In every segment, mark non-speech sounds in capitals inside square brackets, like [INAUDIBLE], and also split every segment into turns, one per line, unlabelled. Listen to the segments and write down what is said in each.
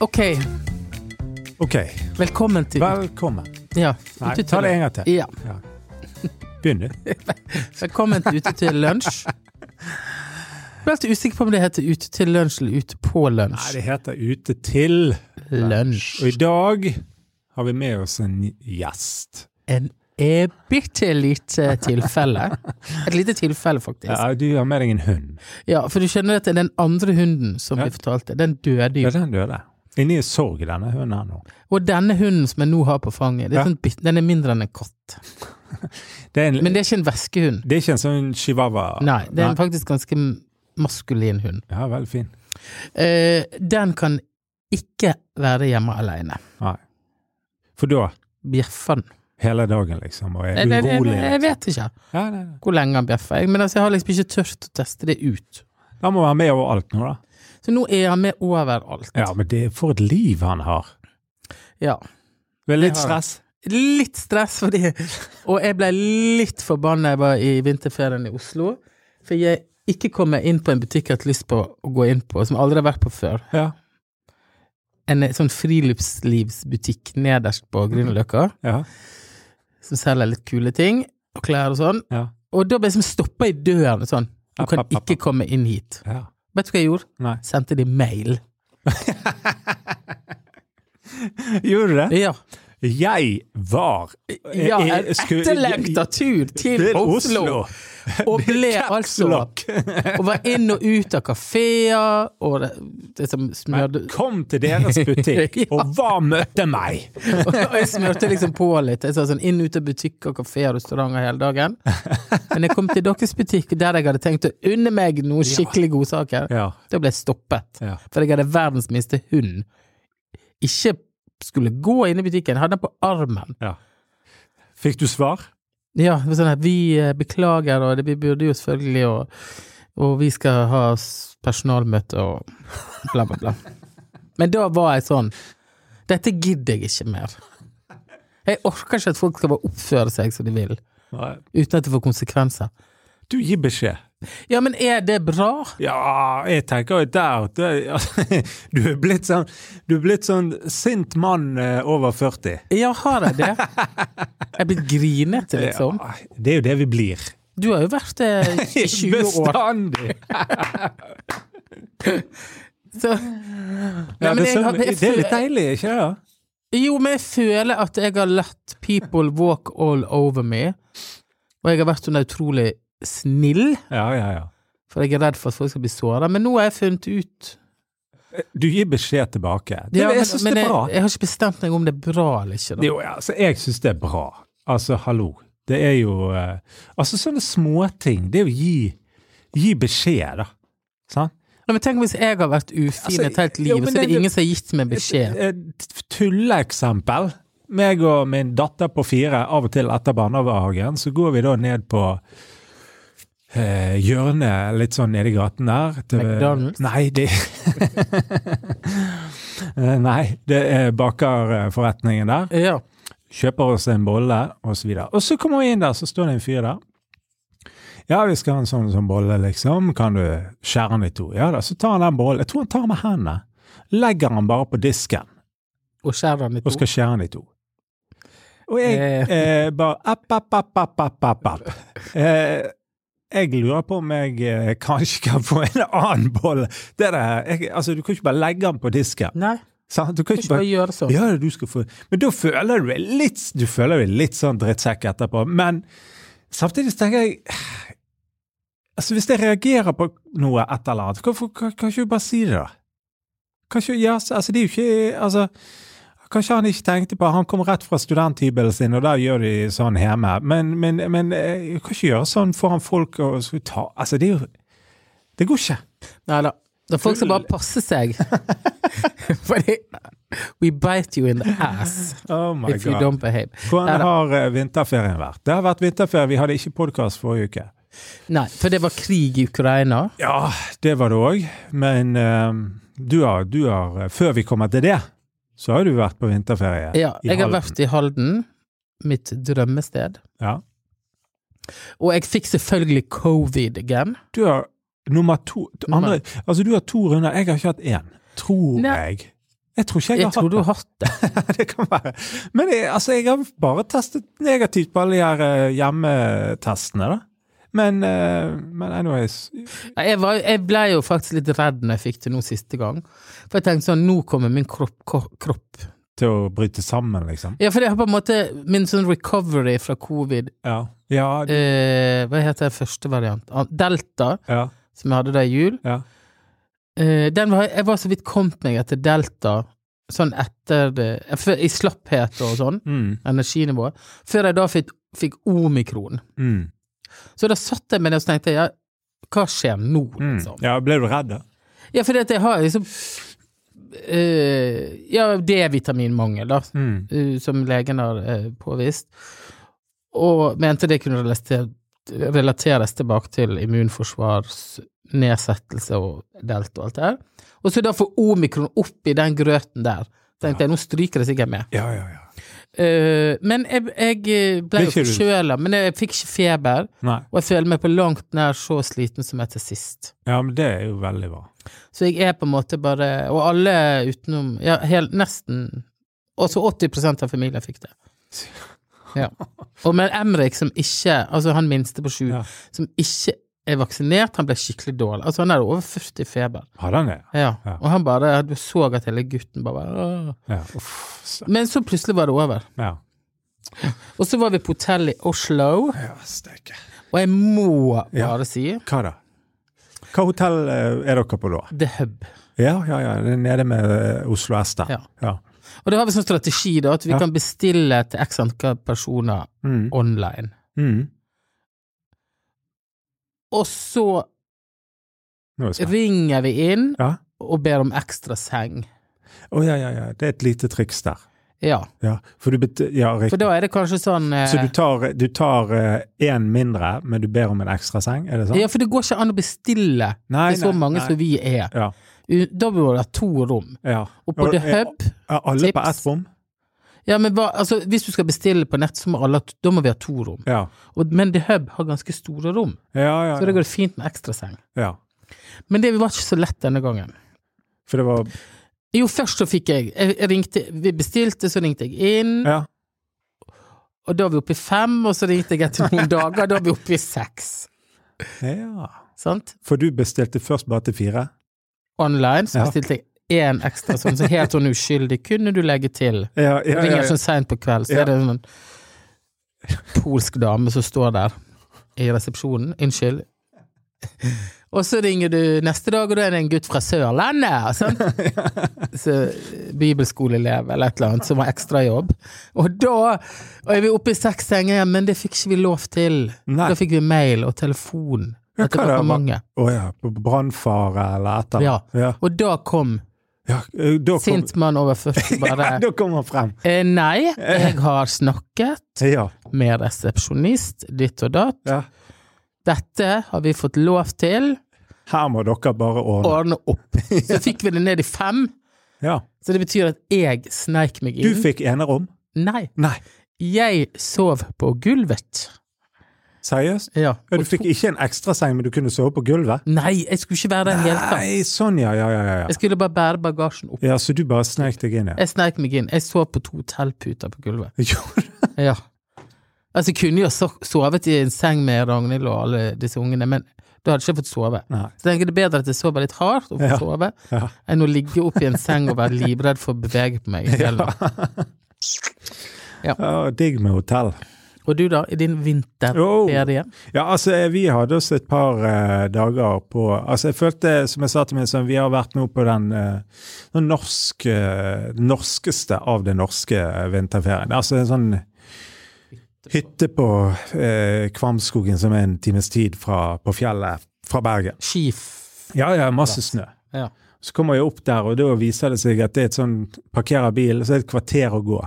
OK,
OK.
velkommen til
Velkommen.
ja,
Nei,
Ute til-
ta det en gang til.
Ja.
Ja. Begynn, du.
Velkommen til Ute til lunsj. Jeg ble alltid usikker på om det heter Ute til lunsj eller Ute på
Nei,
lunsj.
det heter Ute til. Og
Lunsj.
i dag har vi med oss en gjest.
En eh, bitte lite tilfelle. Et lite tilfelle, faktisk.
Ja, du har med deg en hund.
Ja, for du skjønner at det er den andre hunden som
Ja.
vi fortalte, den døde
Ja,
jo.
den døde. Inni sorg, denne hunden her nå.
Og denne hunden som jeg nå har på fanget, det
Ja.
er sånn, bit- den er mindre enn en katt.
Det er, en,
Men det er ikke en veskehund.
det er ikke en sånn chihuahua?
Nei, det er en faktisk ganske maskulin hund.
Ja, veldig fin.
Eh, den kan ikke være hjemme alene.
Nei. For da,
Bjeffer den?
hele dagen liksom, og er
Nei, nei, nei,
urolig.
nei, Jeg vet ikke
Ja, nei, nei.
hvor lenge han bjeffer. Jeg- Men altså, jeg har liksom ikke tørt å teste det ut.
Han må være med overalt nå, da.
Så nå er han med overalt.
Ja, men det er for et liv han har.
Ja.
Det er litt
Det har han.
stress.
Litt stress fordi Og jeg ble litt forbanna jeg var i vinterferien i Oslo. For jeg ikke kom meg inn på en butikk jeg har hatt lyst på å gå inn på, som jeg aldri har vært på før.
Ja,
En sånn friluftslivsbutikk nederst på Grünerløkka,
ja,
som selger litt kule ting og klær og sånn.
ja.
Og da ble jeg liksom stoppa i døren og sånn. Du
App,
kan
app, app,
ikke
app.
komme inn hit.
ja.
Vet du hva jeg gjorde?
Nei.
Sendte de mail.
Gjorde du det?
Ja.
Jeg var Eh,
ja en etterlengta tur til Oslo,
[LAUGHS]
og ble altså [LAUGHS] Og var inn og ut av kafeer, og det, det som smørte
[LAUGHS] Kom til deres butikk,
[LAUGHS] Ja.
og hva møtte
[LAUGHS]
meg?
Og jeg smørte liksom på litt. Jeg sa sånn inn og ut av butikker, kafeer og restauranter hele dagen.
[LAUGHS]
Men jeg kom til deres butikk der jeg hadde tenkt å unne meg noen skikkelig godsaker.
Ja,
Da ble jeg stoppet.
ja.
For jeg hadde verdens minste hund. Ikke skulle gå inn i butikken, hadde den på armen.
ja. Fikk du svar?
Ja, det var sånn at vi eh, beklager, og det, vi burde jo selvfølgelig, og, og vi skal ha s- personalmøte og bla, bla, bla. Men da var jeg sånn Dette gidder jeg ikke mer. Jeg orker ikke at folk skal bare oppføre seg som de vil,
Nei.
uten at det får konsekvenser.
Du gir beskjed.
Ja, men er det bra?
Ja, jeg tenker jo der det, [LAUGHS] Du er blitt sånn Du er blitt sånn sint mann eh, over 40.
Ja, har jeg det? Jeg er blitt grinete, liksom.
Ja, det er jo det vi blir.
Du har jo vært det
[LAUGHS]
i 20 år.
Bestandig!
Så,
Ja,
Nei, men jeg
det, er
har-
sånn,
jeg
det er litt
føler-
deilig, ikke det? da?
Jo, men jeg føler at jeg har latt people walk all over me. Og jeg har vært sånn utrolig snill,
Ja, ja, ja.
for jeg er redd for at folk skal bli såra. Men nå har jeg funnet ut
Du gir beskjed tilbake. Det,
Ja,
jeg syns det
men
er bra.
Jeg, jeg har ikke bestemt meg om det er bra eller ikke. Da.
Jo, ja, altså, jeg syns det er bra. Altså, hallo. Det er jo eh, Altså, sånne småting. Det er jo gi, gi beskjed, da. Sant?
Nei, men tenk hvis jeg har vært ufin
Altså,
et helt liv,
jo, men
så er
det-
det ingen som har gitt meg beskjed.
Et tulleeksempel. Meg og min datter på fire, av og til etter barnehagen, så går vi da ned på eh, hjørnet litt sånn nede i gaten der. til-
McDonald's?
Nei, det [LAUGHS] Eh, Nei, det er bakerforretningen der.
Ja.
kjøper oss en bolle, og så videre. Og så kommer vi inn der, så står det en fyr der. Ja, vi skal ha en sånn, sånn bolle, liksom. Kan du skjære den i to? Ja da, så tar han den bollen. Jeg tror han tar med hendene. Legger han bare på disken
Og skjærer den i
og
to.
skal skjære den i to. Og jeg
Eh.
eh, bare app, app, app, app, app, app, app. Eh, jeg lurer på om jeg eh, kanskje kan få en annen bolle. Det der, jeg, altså, du kan ikke bare legge den på disken.
Nei,
Sant? Du kan
du
ikke
skal
bare
ikke gjøre sånn.
ja, du skal få Men da føler du deg litt Du føler deg litt sånn drittsekk etterpå. Men samtidig så tenker jeg Altså, hvis jeg reagerer på noe et eller annet, hvorfor kan, kan ikke du bare si det, da? Kanskje, ja, så- altså, det er jo ikke Altså, kanskje han ikke tenkte på Han kom rett fra studenthybelen sin, og der gjør de sånn hjemme. Men, men, men eh, du kan ikke gjøre sånn foran folk og så ta Altså, det er jo Det går ikke.
Nei da. Det er folk som bare passer
[LAUGHS]
seg. [LAUGHS] Fordi We bite you in the ass
Oh my
if you
God.
don't behave. Nei
Hvordan
da.
har eh, vinterferien vært? Det har vært vinterferie. Vi hadde ikke podkast forrige uke.
Nei, for det var krig i Ukraina.
Ja, det var det òg. Men eh, du har, du har eh, Før vi kommer til det, så har du vært på vinterferie.
Ja,
i
jeg har
Halden.
vært i Halden, mitt drømmested.
ja.
Og jeg fikk selvfølgelig covid again.
Du har nummer to
Nummer-
andre, Altså, du har to runder. Jeg har ikke hatt én, tror
Nei.
jeg. Jeg tror ikke jeg,
Jeg
har
tror du
hatt
har hatt det.
det. [LAUGHS] det kan være. Men jeg, altså, jeg har bare testet negativt på alle de her eh, hjemmetestene, da. Men, eh, men anyways
Nei, Jeg, var, jeg ble jo faktisk litt redd når jeg fikk det nå siste gang. For jeg tenkte sånn, nå kommer min kropp, ko- kropp.
Til å bryte sammen, liksom.
Ja, for jeg har på en måte min sånn recovery fra covid,
Ja. Ja. det-
eh, hva heter den første variant? Ah, Delta,
ja,
som jeg hadde da i jul.
ja.
Eh, den var, jeg var så vidt kommet meg etter delta, sånn etter det, for- i slapphet og sånn,
Mm,
energinivå, før jeg da fikk, fikk omikron.
mm,
Så da satt jeg med det og så tenkte, jeg, ja, hva skjer nå,
mm.
liksom?
Ja, ble du redd, da?
Ja, for jeg har liksom eh, Ja, D-vitaminmangel, da,
Mm.
eh, som legen har eh, påvist. Og mente det kunne relater- relateres tilbake til immunforsvarsnedsettelse og delt og alt det her. Og så da få omikron opp i den grøten der. Tenkte jeg, nå stryker det sikkert med.
Ja, ja, ja.
Eh, men jeg, jeg ble jo
Det sier du.
forkjøla, men jeg fikk ikke feber.
Nei.
Og jeg føler meg på langt nær så sliten som jeg til sist.
Ja, men det er jo veldig bra.
Så jeg er på en måte bare Og alle utenom ja, hel, Nesten Også 80 av familien fikk
[LAUGHS]
det. Ja. Og med Emrik, som ikke Altså han minste på sju,
Ja.
som ikke er vaksinert, han ble skikkelig dårlig. Altså han hadde over 40 i feber.
Hadde han det?
Ja.
Ja.
Og han bare Du så at hele gutten bare «Åh».
Ja. Uff, så-
Men så plutselig var det over.
ja.
Og så var vi på hotell i Oslo,
ja steike.
og jeg må
Ja.
bare si
Hva da? Hva hotell eh, er dere på da?
The Hub.
Ja, ja, ja, det er nede med eh, Oslo S der.
Ja.
Ja.
Og da har vi sånn strategi, da, at vi
Ja.
kan bestille til x antall personer
Mm.
online.
Mm.
Og så
Nå er jeg spent.
ringer vi inn
Ja.
og ber om ekstra seng.
Å ja, ja, ja, det er et lite triks der.
Ja,
Ja, for du bet ja,
for
riktig.
da er det kanskje sånn eh,
Så du tar, du tar én mindre, men du ber om en ekstra seng, er det sant?
Ja, for det går ikke an å bestille
Nei,
til så
nei,
mange
nei.
som vi er.
Ja.
U- Da bør det ha to rom.
ja.
Og på The
er-
Hub
er alle på
tips.
ett rom?
ja, men hva, altså, Hvis du skal bestille på nett, så må alle ha t- da må vi ha to rom.
Ja.
Og, men The Hub har ganske store rom,
Ja, ja,
så det
ja.
går fint med ekstra seng.
ja.
Men det var ikke så lett denne gangen.
For det var
Jo, først så fikk jeg, jeg jeg ringte, Vi bestilte, så ringte jeg inn,
Ja.
og da var vi oppe i fem, og så ringte jeg etter
[LAUGHS]
noen dager, da var vi oppe i seks.
ja.
Sant?
For du bestilte først bare til fire?
online, så
Ja.
bestilte jeg én ekstra sånn, så helt sånn uskyldig kunne du legge til.
Ja, ja, ja,
Ringer
ja.
sånn seint på kveld, så
Eh, Ja.
er det en sånn polsk dame som står der i resepsjonen. Unnskyld. Og så ringer du neste dag, og da er det en gutt fra Sørlandet,
[LAUGHS]
sant? Så, eh, bibelskoleelev eller et eller annet, som har ekstrajobb. Og da Og jeg var oppe i seks senger, men det fikk ikke vi lov til.
Nei.
Da fikk vi mail og telefon.
Ja,
At det
hva
var
da?
for mange.
Å ja, på brannfare eller et eller
Ja.
annet? Ja.
Og da kom
Ja, eh, da, kom,
sint mann over 40
[LAUGHS]
bare
da kom han frem.
Eh, nei, jeg har snakket
Ja.
med resepsjonist, ditt og datt.
ja.
Dette har vi fått lov til
Her må dere bare
å
ordne.
ordne opp. Så fikk vi det ned i fem,
Ja.
så det betyr at jeg sneik meg
Du
inn.
fikk enerom?
Nei,
Nei.
jeg sov på gulvet.
Seriøst?
Ja.
Ja, du
og
fikk
to-
ikke en ekstraseng, men du kunne sove på gulvet?
Nei, jeg skulle ikke være der i det hele tatt.
Nei, sånn ja, ja, ja, ja,
Jeg
ja.
skulle bare bære bagasjen opp.
Ja, så du bare snek deg inn, ja.
Jeg sneik meg inn. Jeg sov på to hotellputer på gulvet.
[LAUGHS] Jo,
Ja. Altså, jeg kunne jo so- sovet i en seng med Ragnhild og alle disse ungene, men da hadde jeg ikke fått sove.
Nei.
Så tenker jeg det er bedre at jeg sover litt hardt og får
Ja.
sove,
Ja.
enn å ligge opp i en seng og være livredd for å bevege på meg. Eller.
Ja, digg med hotell.
Og du da, i din
Oh.
vinterferie?
Ja, altså, vi hadde oss et par eh, dager på Altså, jeg følte, som jeg sa til min sønn, vi har vært nå på den, eh, den norsk, eh, norskeste av den norske eh, vinterferien. Altså en sånn hytte på eh, Kvamskogen som er en times tid fra, på fjellet fra Bergen.
Skif.
Ja, ja, masse snø.
Ja.
Så kommer jeg opp der, og da viser det seg at det er et sånn Parkerer bil, så er det et kvarter å gå.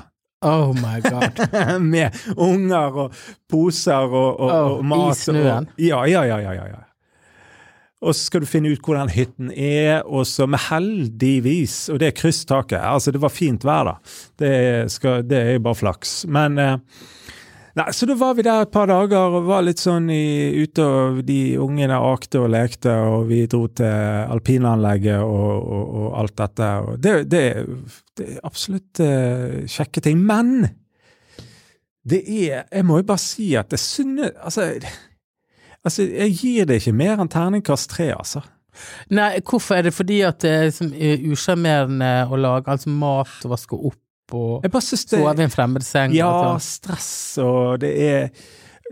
Oh my god.
[LAUGHS] Med unger og poser og, og,
Åh,
og mat.
i snøen.
Og, ja, ja, ja, ja, ja, ja. Og så skal du finne ut hvordan hytten er, og så med heldigvis Og det er krysstaket. Altså, det var fint vær, da. Det, skal, det er jo bare flaks. Men eh, Nei, så da var vi der et par dager og var litt sånn i, ute, og de ungene akte og lekte, og vi dro til alpinanlegget og, og, og alt dette. Og det, det, det er absolutt eh, kjekke ting. Men det er Jeg må jo bare si at det synes Altså, altså jeg gir det ikke mer enn terningkast tre, altså.
[LAUGHS] Nei, hvorfor er det fordi at det er liksom eh, usjarmerende å lage altså mat og vaske opp og
Jeg bare synes det
sove i en fremmed seng?
Ja,
og sånn?
stress, og det er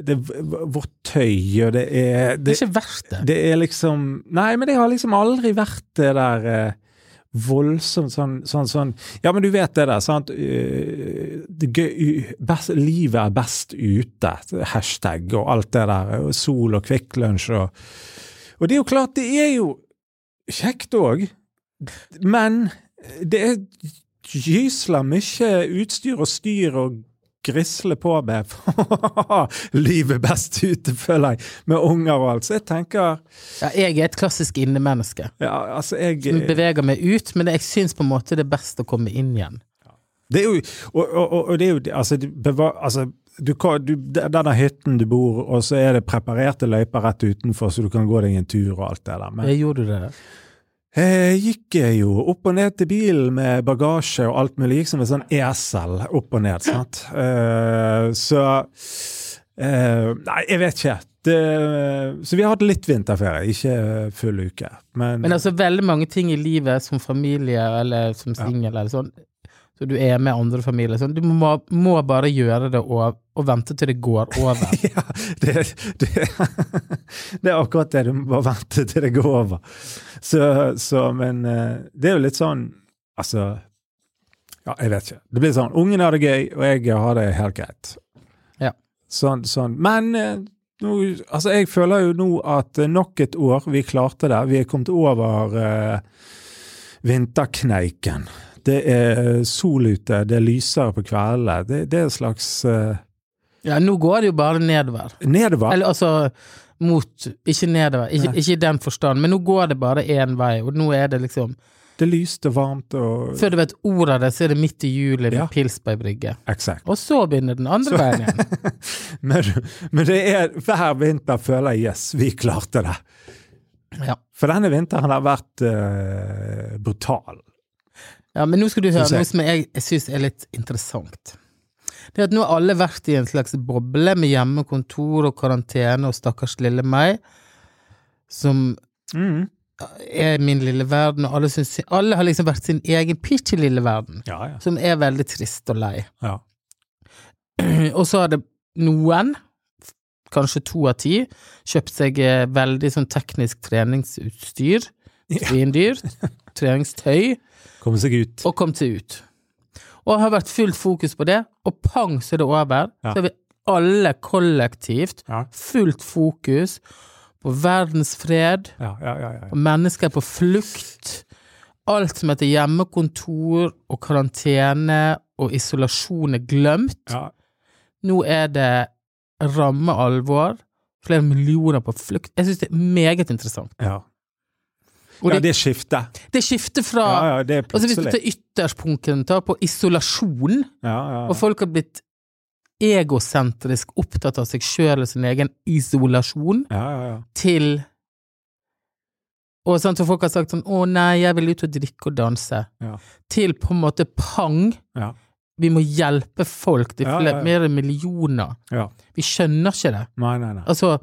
det er vårt tøy, og det er
det er ikke verst, det.
Det er liksom Nei, men det har liksom aldri vært det der eh, voldsomt sånn, sånn sånn Ja, men du vet det der, sant? Eh, det gøy, u- best, livet er best ute, hashtag og alt det der. Og sol og Kvikk Lunsj og Og det er jo klart, det er jo kjekt òg, men det er gysla mye utstyr og styr og grisle på med. [LAUGHS] Livet best ute, føler jeg, med unger og alt. Så jeg tenker
Ja, jeg er et klassisk innemenneske.
ja, altså jeg
Som beveger meg ut, men jeg syns på en måte det er best å komme inn igjen.
Det er jo Og, og, og- og det er jo Altså, det bevar, altså du, kan- du, denne hytten du bor, og så er det preparerte løyper rett utenfor, så du kan gå deg en tur og alt det der. Men
Eh, Gjorde du det? der?
jeg Eh, gikk jeg jo opp og ned til bilen med bagasje og alt mulig. Gikk som en sånn esel opp og ned, sant. Eh, så eh, Nei, jeg vet ikke. Det, så vi har hatt litt vinterferie, ikke full uke. Men,
Men altså, veldig mange ting i livet, som familie eller som singel eller sånn, så du er med andre familier sånn, du må, må bare gjøre det og, og vente til det går over.
[LAUGHS] Ja, det, det, det er akkurat det. Du må bare vente til det går over. Så, så men eh, det er jo litt sånn Altså Ja, jeg vet ikke. Det blir sånn. Ungene har det gøy, og jeg har det helt greit.
Ja.
Sånn, sånn. Men eh, nå, altså jeg føler jo nå at eh, nok et år, vi klarte det. Vi er kommet over eh, vinterkneiken. Det er eh, sol ute, det er lysere på kveldene. Det, det er en slags eh,
Ja, nå går det jo bare nedover.
nedover.
Eller altså mot Ikke nedover, ikke, ikke i den forstand, men nå går det bare én vei, og nå er det liksom
Det er lyst og varmt og
Før du vet ordet av det, så er det midt i juli med
Ja.
Pilsberg brygge.
Exakt.
Og så begynner den andre veien igjen.
Men, men det er hver vinter føler jeg yes, vi klarte det.
Ja.
For denne vinteren har vært eh, brutal.
Ja, men nå skal du høre
Synes jeg.
noe som jeg, jeg syns er litt interessant. Det er at nå har alle vært i en slags boble med hjemmekontor og karantene og stakkars lille meg, som
Mm.
er min lille verden, og alle, syns, alle har liksom vært sin egen bitte lille verden,
Ja, ja.
som er veldig trist og lei. [CLEARS THROAT]
ja.
Og så har det noen, kanskje to av ti, kjøpt seg eh, veldig sånn teknisk treningsutstyr,
Ja.
tvindyr, treningstøy,
Komme seg ut.
og kom seg ut. Og har vært fullt fokus på det, og pang, så er det over.
Ja.
Så er vi alle kollektivt
Ja,
fullt fokus på verdensfred,
ja, ja. ja, ja.
og mennesker på flukt. Alt som heter hjemmekontor og karantene og isolasjon er glemt.
ja.
Nå er det ramme alvor. Flere millioner på flukt. Jeg syns det er meget interessant.
ja.
Og
ja
det,
det er skiftet.
det skifter fra
Ja, ja, det er
altså Hvis du
plutselig.
tar ytterspunkten ta på isolasjon,
Ja, ja,
og folk har blitt egosentrisk opptatt av seg sjøl og sin egen isolasjon,
ja, ja, ja.
til Og sånn som folk har sagt sånn 'Å nei, jeg vil ut og drikke og danse',
Ja.
til på en måte pang.
Ja.
Vi må hjelpe folk. Det er
Ja,
flere,
ja, ja.
mer enn millioner.
Ja.
Vi skjønner ikke det.
Nei, nei, nei.
Altså,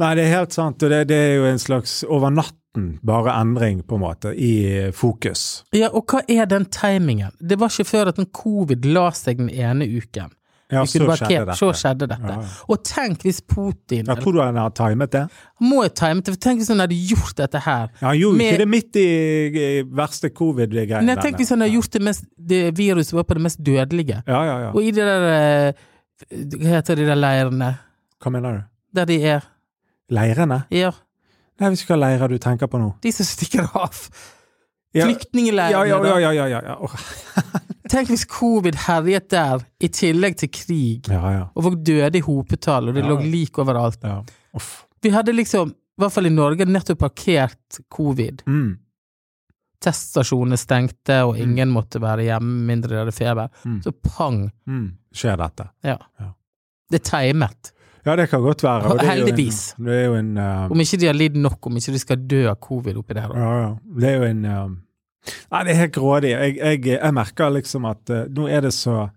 Nei, det er helt sant, og det, det er jo en slags over natten bare endring, på en måte, i fokus.
Ja, og hva er den timingen? Det var ikke før at en covid la seg den ene uken.
Ja,
Vi kunne bare ke-
dette.
så skjedde dette.
Ja, ja.
Og tenk hvis Putin
Ja, tror du han har timet det?
Må jeg time det? For Tenk hvis han hadde gjort dette her.
Ja, han gjorde jo
Med-
ikke det midt i, i verste covid-greiene.
Nei, tenk hvis han hadde gjort det, mest, det viruset var på det mest dødelige.
Ja, ja, ja.
Og i de der eh, Hva heter de der leirene?
Hva mener du?
Der de er.
Leirene?
Ja,
Nei, jeg vet ikke hva leirer du tenker på nå.
de som stikker av.
Ja,
Flyktningleirene.
ja, ja,
da.
ja, ja, ja, ja. Åh.
Tenk hvis covid herjet der, i tillegg til krig,
ja, ja.
og folk døde i hopetall, og det
Ja.
lå lik overalt.
ja. Uff.
Vi hadde liksom, i hvert fall i Norge, nettopp parkert covid.
Mm.
Teststasjonene stengte, og ingen måtte være hjemme mindre de hadde feber.
Mm.
Så pang.
Mm. Skjer dette?
Ja.
Ja.
Det er timet.
Ja, det kan godt være. og det er jo en-
Heldigvis.
Det er jo en eh,
Om ikke de har lidd nok, om ikke de skal dø av covid oppi der. da.
Ja, ja. Det er jo en um, Nei, det er helt grådig. Jeg, jeg, jeg merker liksom at eh, nå er det så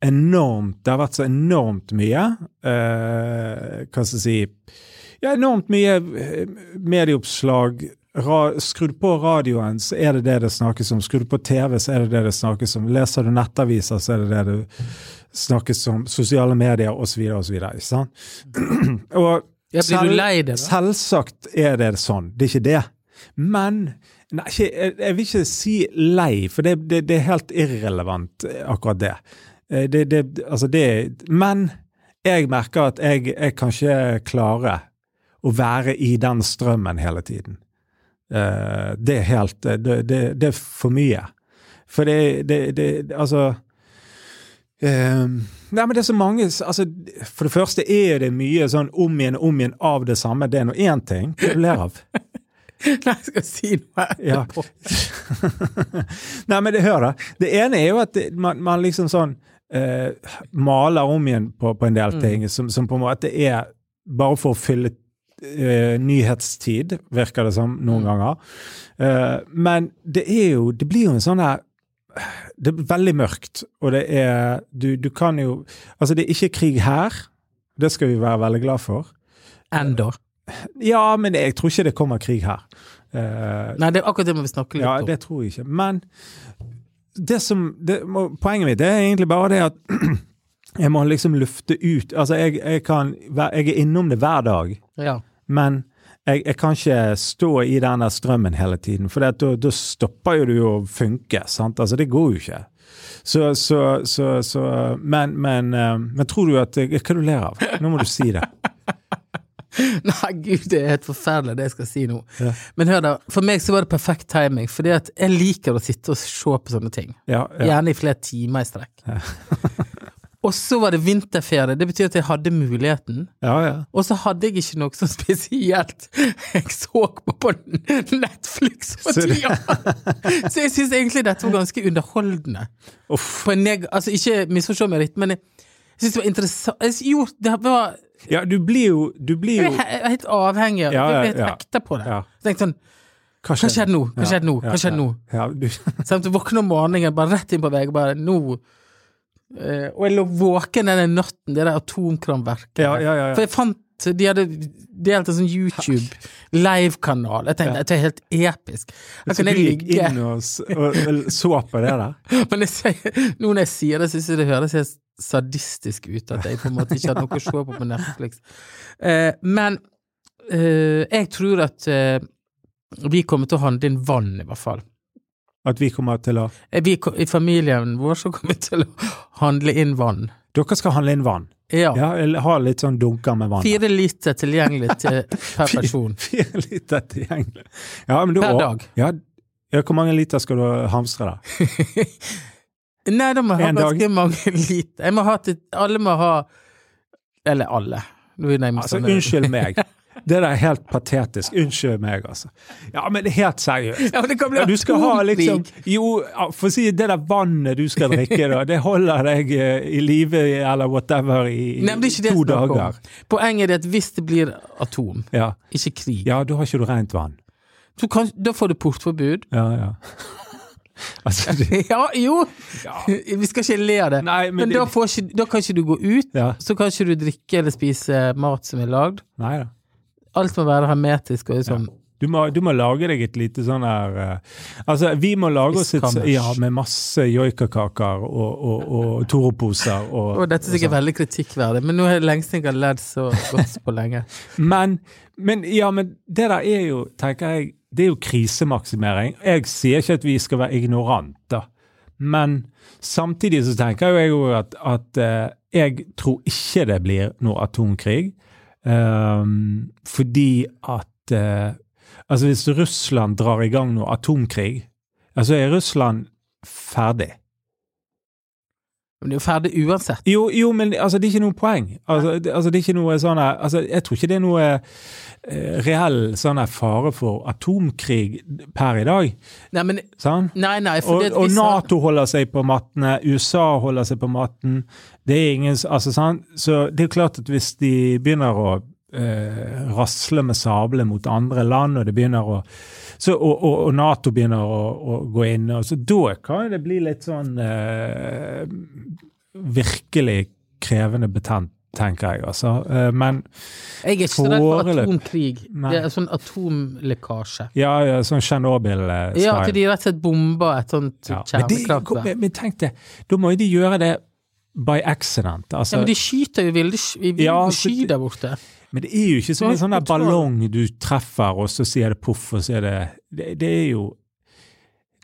enormt Det har vært så enormt mye eh, Hva skal jeg si Ja, enormt mye eh, medieoppslag. Ra, skrur du på radioen, så er det det det snakkes om. Skrur du på TV, så er det det det snakkes om. Leser du nettaviser, så er det det det snakkes om. Sosiale medier osv. osv. Ikke sant? [CLEARS THROAT] og
Ja, blir
Selv-
du lei deg, da?
Selvsagt er det sånn, det er ikke det. Men nei, ikke, jeg, jeg vil ikke si lei, for det, det, det er helt irrelevant, eh, akkurat det. Eh, det, det altså det men jeg merker at jeg, jeg kan ikke klare å være i den strømmen hele tiden. Eh, det er helt eh, Det, det, det er for mye. For det, det, det Altså Ehm, nei, men det er så mange altså, For det første er det mye sånn om igjen og om igjen av det samme. Det er nå én ting det du ler av.
[LAUGHS] Nei, jeg skal si noe
Ja.
etterpå.
[LAUGHS] nei, men det, hør, da. Det ene er jo at det, man, man liksom sånn eh, maler om igjen på, på en del ting som, som på en måte er bare for å fylle eh, nyhetstid, virker det som noen ganger. Eh, men det er jo Det blir jo en sånn her det er veldig mørkt, og det er du, du kan jo Altså, det er ikke krig her. Det skal vi være veldig glad for.
Enda.
Ja, men jeg tror ikke det kommer krig her. Eh,
Nei, det er akkurat det må vi snakke litt
ja,
om.
det tror jeg ikke. Men det som, det, må- poenget mitt det er egentlig bare det at [CLEARS THROAT] jeg må liksom lufte ut Altså, jeg, jeg, kan, væ- jeg er innom det hver dag,
Ja.
men jeg, jeg kan ikke stå i den der strømmen hele tiden, for det at da da stopper jo du å funke. sant? Altså, det går jo ikke. Så, så, så, så men, men, eh, men tror du at Hva du ler av? Nå må du si det.
Nei, gud, det er helt forferdelig det jeg skal si nå.
Ja.
Men hør da, for meg så var det perfekt timing, fordi at jeg liker å sitte og se på sånne ting.
Ja, ja.
Gjerne i flere timer i strekk. [LAUGHS] og så var det vinterferie, det betyr at jeg hadde muligheten.
ja, ja.
Og så hadde jeg ikke noe så spesielt jeg så på på Netflix på
Så det-
tida. Så jeg syns egentlig dette var ganske underholdende.
Uff.
På en neg altså, ikke misforstå meg litt, men jeg syns det var interessant jeg synes- Jo, det var
ja, du blir jo, du blir
[LAUGHS] Jeg
jo
ble he- helt avhengig av det.
Ja, ja,
Jeg ble helt
ja.
hekta på det.
Ja.
Så tenkte jeg sånn Hva skjedde nå? Hva skjedde nå? Hva skjedde nå?
Ja, ja, du, [LAUGHS]
Sånn, jeg våkner om morgenen, bare rett inn på vei, bare nå Eh, Og jeg lå våken den natten, det der atomkraftverket.
Ja, ja, ja, ja.
For jeg fant De hadde delt en sånn YouTube live-kanal. Jeg tenkte dette er helt episk. Her
så
kan
Altså, du
jeg
gikk
ligge.
inn og, s- og, og så på det der?
[LAUGHS] Men jeg sier, nå når jeg sier det, syns jeg det høres helt sadistisk ut at jeg på en måte ikke hadde noe å se på på Netflix. Eh, men eh, jeg tror at eh, vi kommer til å handle inn vann, i hvert fall.
At vi kommer til å
Eh, Vi, ko- I familien vår så kommer vi til å handle inn vann.
Dere skal handle inn vann.
Ja.
Ja, eller ha litt sånn dunker med vann.
Fire liter tilgjengelig til per
[LAUGHS] Fire-
person.
[LAUGHS] Fire liter tilgjengelig. Ja, men du,
Per dag.
Ja, ja, hvor mange liter skal du hamstre, da?
Nei, da må jeg ha
En dag.
ganske mange [LAUGHS] liter. Jeg må ha til, alle må ha Eller alle. Nå er jeg nærmest
Altså,
sånn-
unnskyld
[LAUGHS]
meg. Det der er helt patetisk. Unnskyld meg, altså. Ja, men det er helt seriøst.
Ja, men det kan bli
Ja, du skal ha
atomkrig.
liksom Jo, ja, for å si det der vannet du skal drikke, da, det holder deg eh, i live eller whatever i,
Nei, men det er ikke det
to
jeg snakker om.
dager.
Poenget er det at hvis det blir atom,
Ja.
ikke krig,
ja, da har ikke du rent vann.
så kan, da får du portforbud. [LAUGHS]
Ja, ja. altså, det,
Ja, jo!
Ja.
[LAUGHS] Vi skal ikke le av det.
Nei, men
men
det-
da, får ikke, da kan ikke du gå ut,
ja.
så kan ikke du drikke eller spise mat som er lagd.
Nei da.
Alt må være hermetisk og sånn.
Du må, du må lage deg et lite sånn her eh, Altså, vi må lage oss et
Fiskkammers.
Ja, med masse joikakaker og, og, og Toro-poser og,
Og dette er sikkert veldig kritikkverdig, men nå er det lengst jeg har ledd så godt på
[LAUGHS]
lenge.
Men, men ja, men det der er jo, tenker jeg, det er jo krisemaksimering. Jeg sier ikke at vi skal være ignorante, men samtidig så tenker jo jeg jo at, at eh, jeg tror ikke det blir noe atomkrig, ehm, fordi at eh, Altså, hvis Russland drar i gang noe atomkrig, altså er Russland ferdig.
Men det er jo ferdig uansett.
Jo, jo, men altså, det er ikke noe poeng. Altså, det, altså, det er ikke noe sånn her- altså, Jeg tror ikke det er noe eh, reell sånn her fare for atomkrig per i dag.
Nei, men,
Sant?
nei, nei for
Og,
det at
og
vi sa-
Nato holder seg på mattene, USA holder seg på matten. Det er ingen, s- altså sant? Så det er jo klart at hvis de begynner å eh, rasle med sabler mot andre land, og, det begynner å, så, og, og, og Nato begynner å, å gå inn, og så da kan det bli litt sånn eh, virkelig krevende betent, tenker jeg. Altså. Eh, men
Jeg er ikke så redd for
Foreløpig.
atomkrig.
Nei.
Det er sånn atomlekkasje.
ja, ja sånn Tsjernobyl-style.
Ja, at de rett og slett bomber et sånt
Ja, Men, det,
kjernekraftverk.
men, men tenk det, da må jo de gjøre det by accident. Altså,
Ja, men
men,
de skyter jo ville sk- i vilde
Ja, så
sky
det-
der borte.
det, er jo ikke som en
Nei,
sånn der
kontroll.
ballong du treffer, og så sier det poff, og så er det Det, det er jo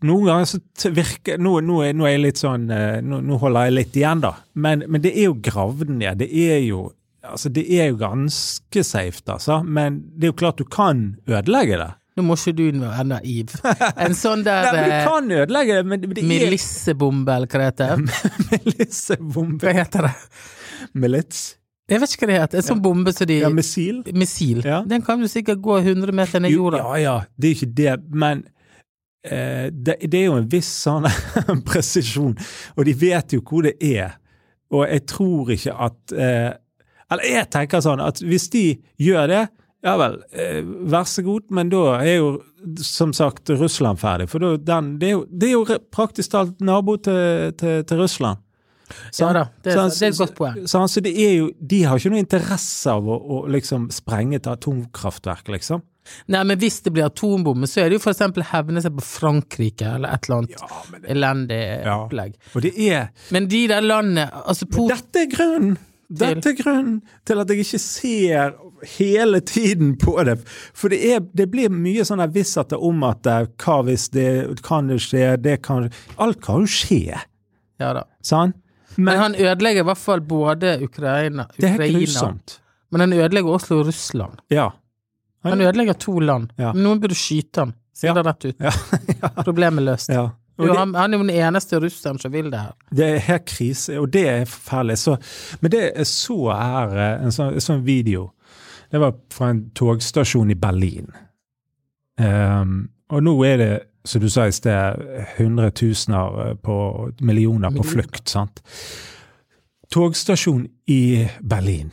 noen ganger så t- virker Nå, nå, er, nå er jeg litt sånn eh, nå, nå holder jeg litt igjen, da. Men, men det er jo gravd ned. Det er jo altså det er jo ganske safe, altså. Men det er jo klart du kan ødelegge det.
Nå må ikke du være naiv.
[LAUGHS]
En sånn
Nei,
der
men du
eh,
kan Mm. ødelegge det, men det, det [LAUGHS] er
milissebombe, eller hva det heter.
Militsebombe.
Hva heter det?
Milits?
Jeg vet ikke hva det heter. En sånn bombe som de
Ja, missil?
Missil.
Ja.
Den kan jo sikkert gå 100 meter ned i
Jo,
jorda.
Ja, ja, det er jo ikke det, men eh, det, det er jo en viss sånn [LAUGHS] presisjon, og de vet jo hvor det er. Og jeg tror ikke at eh, Eller jeg tenker sånn at hvis de gjør det, ja vel, eh, vær så god, men da er jo som sagt Russland ferdig. For da, den, det, er jo, det er jo re- praktisk talt nabo til, til, til Russland.
Ja da, det er-
Så han-
det er et godt poeng.
Så, han- så det er jo, de har ikke noe interesse av å, å liksom sprenge et atomkraftverk, liksom.
Nei, men hvis det blir atombombe, så er det jo for eksempel hevne seg på Frankrike, eller et eller annet elendig
Ja.
opplegg.
Og det er
Men de der landene Altså, Putin
Dette er grunnen! Dette er grunnen til at jeg ikke ser hele tiden på det. For det, er, det blir mye sånn vissheter om at det, hva hvis det kan det skje, det kan Alt kan jo skje,
Ja da.
sant?
Men
Men,
han ødelegger i hvert fall både Ukraina,
det er helt
Ukraina
grusomt.
Men han ødelegger også Russland.
Ja.
Han ødelegger to land.
Ja.
Men Noen burde skyte han. Si
Ja.
det rett ut. [LAUGHS]
Ja,
Problemet løst.
ja. Og
Jo,
det,
han, han er jo den eneste russeren som vil det her.
det er helt krise, og det er forferdelig. Så, men det jeg så her, eh, en sånn, en sånn video Det var fra en togstasjon i Berlin. Ehm, og nå er det, som du sa i sted, hundretusener eh, på millioner på
Millioner.
flukt. sant? Togstasjon i Berlin.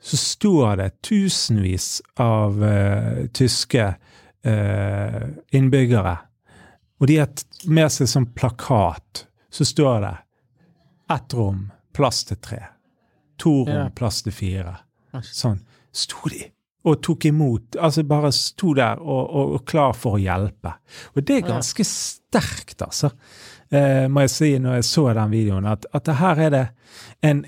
Så står det tusenvis av eh, tyske eh, innbyggere, og de har t- med seg sånn plakat. Så står det ett rom, plass til tre. To rom,
Ja.
plass til fire sånn, sto de og tok imot. Altså bare sto der og, og, og klar for å hjelpe. Og det er ganske sterkt, altså, eh, må jeg si når jeg så den videoen, at, at det her er det en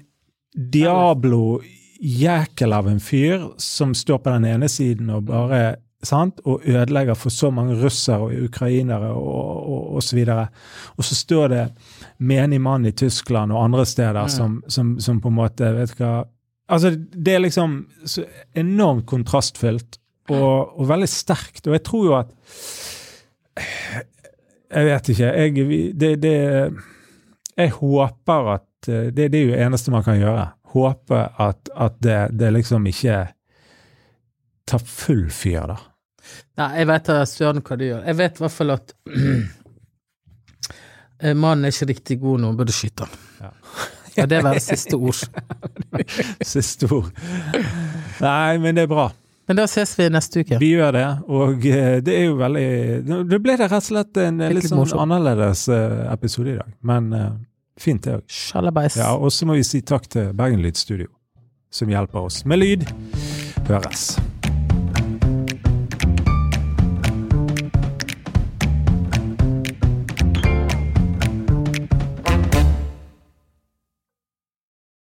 Diablo-jækel av en fyr som står på den ene siden og bare sant, Og ødelegger for så mange russere og ukrainere og, og, og så videre. Og så står det menig mann i Tyskland og andre steder som, som, som på en måte vet du hva, Altså, det er liksom så enormt kontrastfylt og, og veldig sterkt. Og jeg tror jo at Jeg vet ikke. Jeg, vi- det, det, jeg håper at eh, det, det er jo det eneste man kan gjøre. Håpe at, at det, det liksom ikke tar full fyr, da. [LAUGHS]
Nei, jeg vet da søren hva du gjør. Jeg vet i hvert fall at [CLEARS THROAT] eh, mannen er ikke riktig god nå, burde skyte han.
Ja.
Ja, det var det siste ord. [LAUGHS]
Siste ord. Nei, men det er bra.
Men da ses vi neste uke.
Vi gjør det, og eh, det er jo veldig Det ble det rett og slett en eh,
Litt
litt sånn
morsomt.
annerledes eh, episode i dag, men eh, fint det òg.
Sjalabais.
Ja, og så må vi si takk til Bergen Lydstudio, som hjelper oss med lyd. Høres.